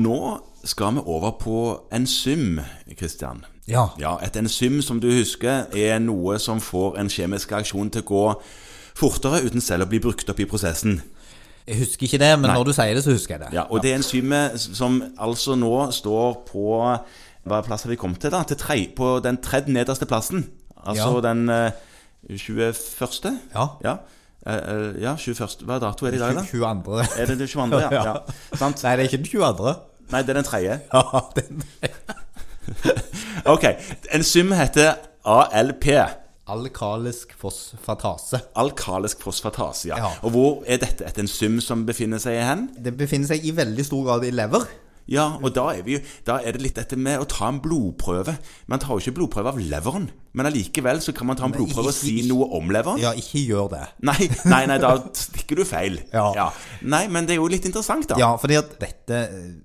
nå skal vi over på enzym, Kristian. Ja. Ja, et enzym, som du husker, er noe som får en kjemisk reaksjon til å gå fortere uten selv å bli brukt opp i prosessen. Jeg husker ikke det, men når du sier det, så husker jeg det. Ja, og det enzymet som altså nå står på Hva plass har vi kommet til, da? Til tre, på den tredje nederste plassen. Altså Ja. den eh, 21. Ja. Ja. Eh, eh, ja, 21. Hva dato er det i dag, da? 22. Er det den 22.? Ja. ja. Ja. Sant? Nei, det er ikke den 22. Nei, det er den tredje. Ja, den Ok. Enzymet heter ALP. Alkalisk fosfatase. Alkalisk fosfatase. Ja. Ja. Og hvor er dette et enzym som befinner seg hen? Det befinner seg i veldig stor grad i lever. Ja, og da er, vi jo, da er det litt dette med å ta en blodprøve. Man tar jo ikke blodprøve av leveren, men allikevel så kan man ta en blodprøve og si ikke- noe om leveren. Ja, ikke gjør det. Nei, nei, nei, da stikker du feil. Ja. Nei, men det er jo litt interessant, da. Ja, fordi at dette eh,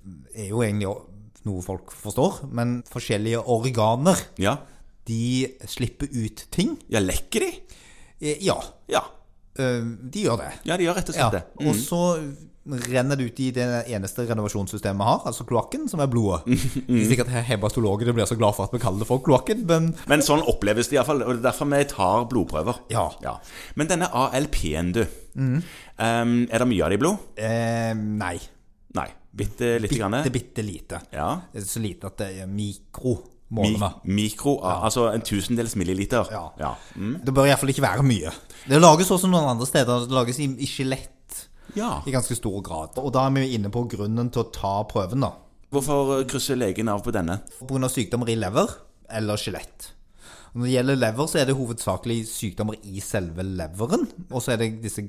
er jo egentlig noe folk forstår, men forskjellige organer, Ja, de slipper ut ting. ja lekker de? Eh, Ja, Ja. eh, de gjør det. ja, de gjør rett og Ja, slett det. Mm. og så renner det ut i det eneste renovasjonssystemet vi har, altså kloakken, som er blodet. Mm. Det er sikkert hebastologene blir så glad for at vi kaller det for kloakken, men Men sånn oppleves det iallfall, og det er derfor vi tar blodprøver. Ja. Mm. Men denne ALP-en, du. ehm, er det mye av det i blod? eh, nei. Nei. Bitte lite grann? Bitte, bitte lite. Ja. Så lite at det er mikro, Mi måler vi. mikro, altså en tusendels milliliter. Ja. ja. Det bør iallfall ikke være mye. Det lages også noen andre steder. Det lages i, i skjelett ja. i ganske stor grad. Og da er vi jo inne på grunnen til å ta prøven, da. Hvorfor eh, krysser legen av på denne? Pga. sykdommer i lever eller skjelett. Og Når det gjelder lever, så er det hovedsakelig sykdommer i selve leveren. Og så er det disse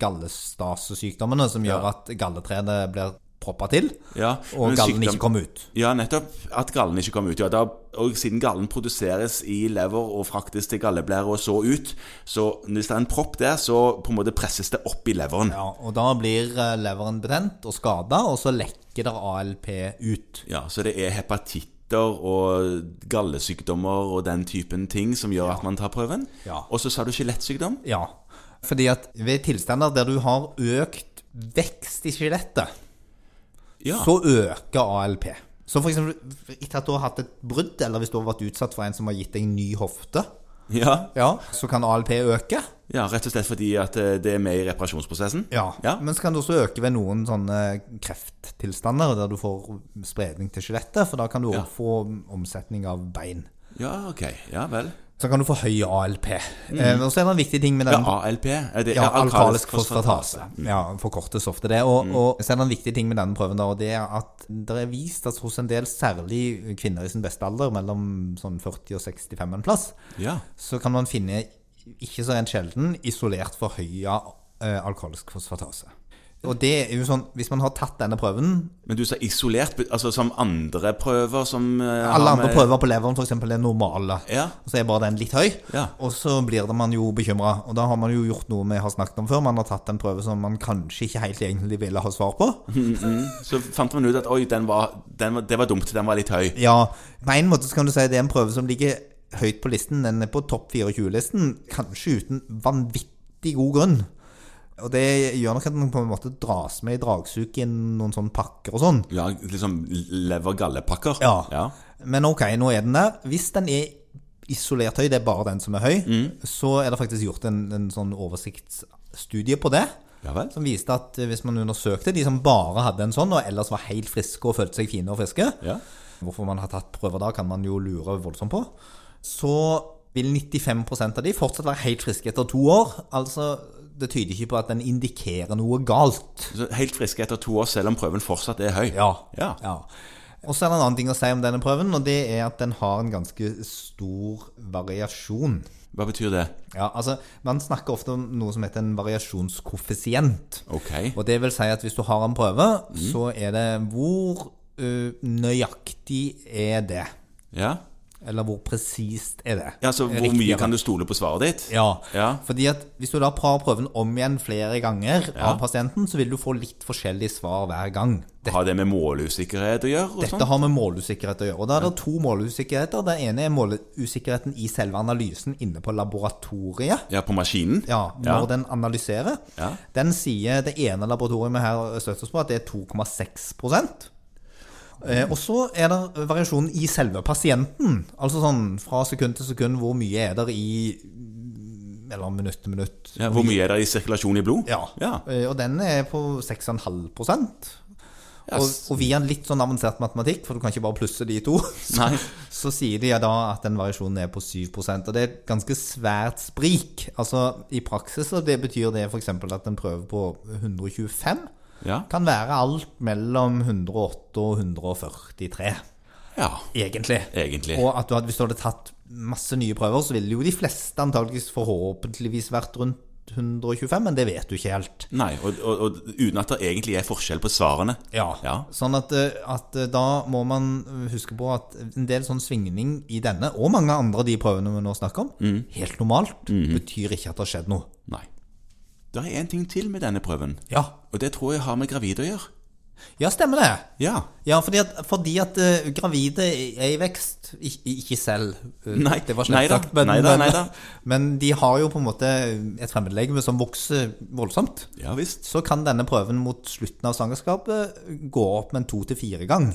gallestasesykdommene som gjør at galletrene blir proppa til, Ja, og men gallen sykdom- ikke kommer ut. Ja, nettopp. At gallen ikke kommer ut. Ja, da, og siden gallen produseres i lever og fraktes til galleblære og så ut, så hvis det er en propp der, så på en måte presses det opp i leveren. Ja, Ja, og da blir eh, leveren betent og skada, og så lekker der ALP ut. Så det er hepatitter og gallesykdommer og den typen ting som gjør at man tar prøven. Ja. Og så sa du skjelettsykdom? Ja, fordi at ved tilstander der du har økt vekst i skjelettet, Ja. så øker ALP. Så for eksempel etter at du har hatt et brudd, eller hvis du har vært utsatt for en som har gitt deg ny hofte, ja. ja, så kan ALP øke. Ja, Rett og slett fordi at eh, det er med i reparasjonsprosessen? ja. Men så kan det også øke ved noen sånne krefttilstander der du får spredning til skjelettet, for da kan du også Ja. få omsetning av bein. ja ok. Ja vel. Så kan du få høy ALP. Eh, og så er det en viktig ting med Mm. Ja, den ALP? Er det Ja, ja, alkalisk fosfatase. Mm. Ja, forkortes ofte det. Og, og så er det en viktig ting med denne prøven, da, og det er at det er vist at hos en del, særlig kvinner i sin beste alder, mellom sånn 40 og 65 en plass, Ja. så kan man finne, ikke så rent sjelden, isolert forhøya eh, alkoholisk fosfatase. Og det er jo sånn, hvis man har tatt denne prøven, Men du sa isolert, altså som andre prøver som eh, alle har andre med- prøver på leveren f.eks. er normale, Ja. og så er bare den litt høy, Ja. og så blir det man jo bekymra. Og da har man jo gjort noe vi har snakket om før, man har tatt en prøve som man kanskje ikke helt egentlig ville ha svar på. Mhm. Så fant man ut at oi, den var, den var, det var dumt, den var litt høy. Ja, på en måte så kan du si det er en prøve som ligger høyt på listen. Den er på topp 24-listen, kanskje uten vanvittig god grunn. Og det gjør nok at den på en måte dras med i dragsuget i noen sånne pakker og sånn. Ja, liksom lever-gallepakker. Ja. ja. Men ok, nå er den der. Hvis den er isolert høy, det er bare den som er høy, Mm. så er det faktisk gjort en, en sånn oversiktsstudie på det. Ja vel. Som viste at eh, hvis man undersøkte de som bare hadde en sånn, og ellers var helt friske og følte seg fine og friske, Ja. Hvorfor man har tatt prøver da, kan man jo lure voldsomt på. Så vil 95 av de fortsatt være helt friske etter to år. Altså, det tyder ikke på at den indikerer noe galt. Så helt friske etter to år, selv om prøven fortsatt er høy. Ja. Ja. Og så er det en annen ting å si om denne prøven, og det er at den har en ganske stor variasjon. Hva betyr det? Ja, altså, Man snakker ofte om noe som heter en variasjonskoeffisient. Ok. Og det vil si at hvis du har en prøve, Mm. så er det Hvor ø, nøyaktig er det? Ja, Eller hvor presist er det? ja så hvor mye kan du stole på svaret ditt? ja. Ja. fordi at hvis du da prøver prøven om igjen flere ganger Ja. av pasienten, så vil du få litt forskjellige svar hver gang. Dette, Har det med måleusikkerhet å gjøre? og sånn? dette har med målusikkerhet å gjøre. Og da er det to målusikkerheter. Den ene er målusikkerheten i selve analysen inne på laboratoriet. Ja, på maskinen? Ja, Ja. når den analyserer. Ja. Den sier det ene laboratoriet vi her støtter oss på, at det er 2,6 Eh, Og så er det variasjonen i selve pasienten. Altså sånn fra sekund til sekund, hvor mye er der i mm, Eller minutt til minutt. Ja, hvor mye er det i sirkulasjon i blod? Ja. Ja. Eh, Og den er på 6,5 Ja, og, s- og via en litt sånn avansert matematikk, for du kan ikke bare plusse de to, så, Nei. så sier de ja da at den variasjonen er på 7 Og det er et ganske svært sprik. Altså I praksis så det betyr det f.eks. at en prøve på 125 Ja. kan være alt mellom 108 og 143 ja. egentlig. Egentlig. Og at du hadde, hvis du hadde tatt masse nye prøver, så ville jo de fleste antageligvis forhåpentligvis vært rundt 125, men det vet du ikke helt. Nei, og, og, og uten at det egentlig er forskjell på svarene. Ja. Sånn at, eh, at eh, da må man eh, huske på at en del sånn svingning i denne, og mange andre av de prøvene vi nå snakker om, Mm. helt normalt, Mm-hmm. betyr ikke at det har skjedd noe. Nei. Det er én ting til med denne prøven, Ja. og det tror jeg har med gravide å gjøre. Ja, stemmer det. Ja. Ja, fordi at, fordi at eh, gravide er i vekst. Ik ikke selv, eh, Nei, det var slett nei da, sagt, men, nei da, nei da. men de har jo på en måte et fremmedlegeme som vokser voldsomt. Ja visst. Så kan denne prøven mot slutten av svangerskapet gå opp med en to til fire gang.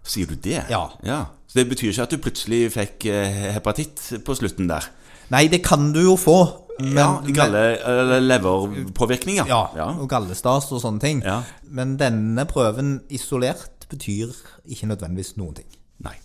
Sier du det? Ja. Så det betyr ikke at du plutselig fikk eh, hepatitt på slutten der? Nei, det kan du jo få, men ja, galle, eller leverpåvirkning, ja. ja, ja. og gallestas og sånne ting. Ja. Men denne prøven isolert betyr ikke nødvendigvis noen ting. Nei.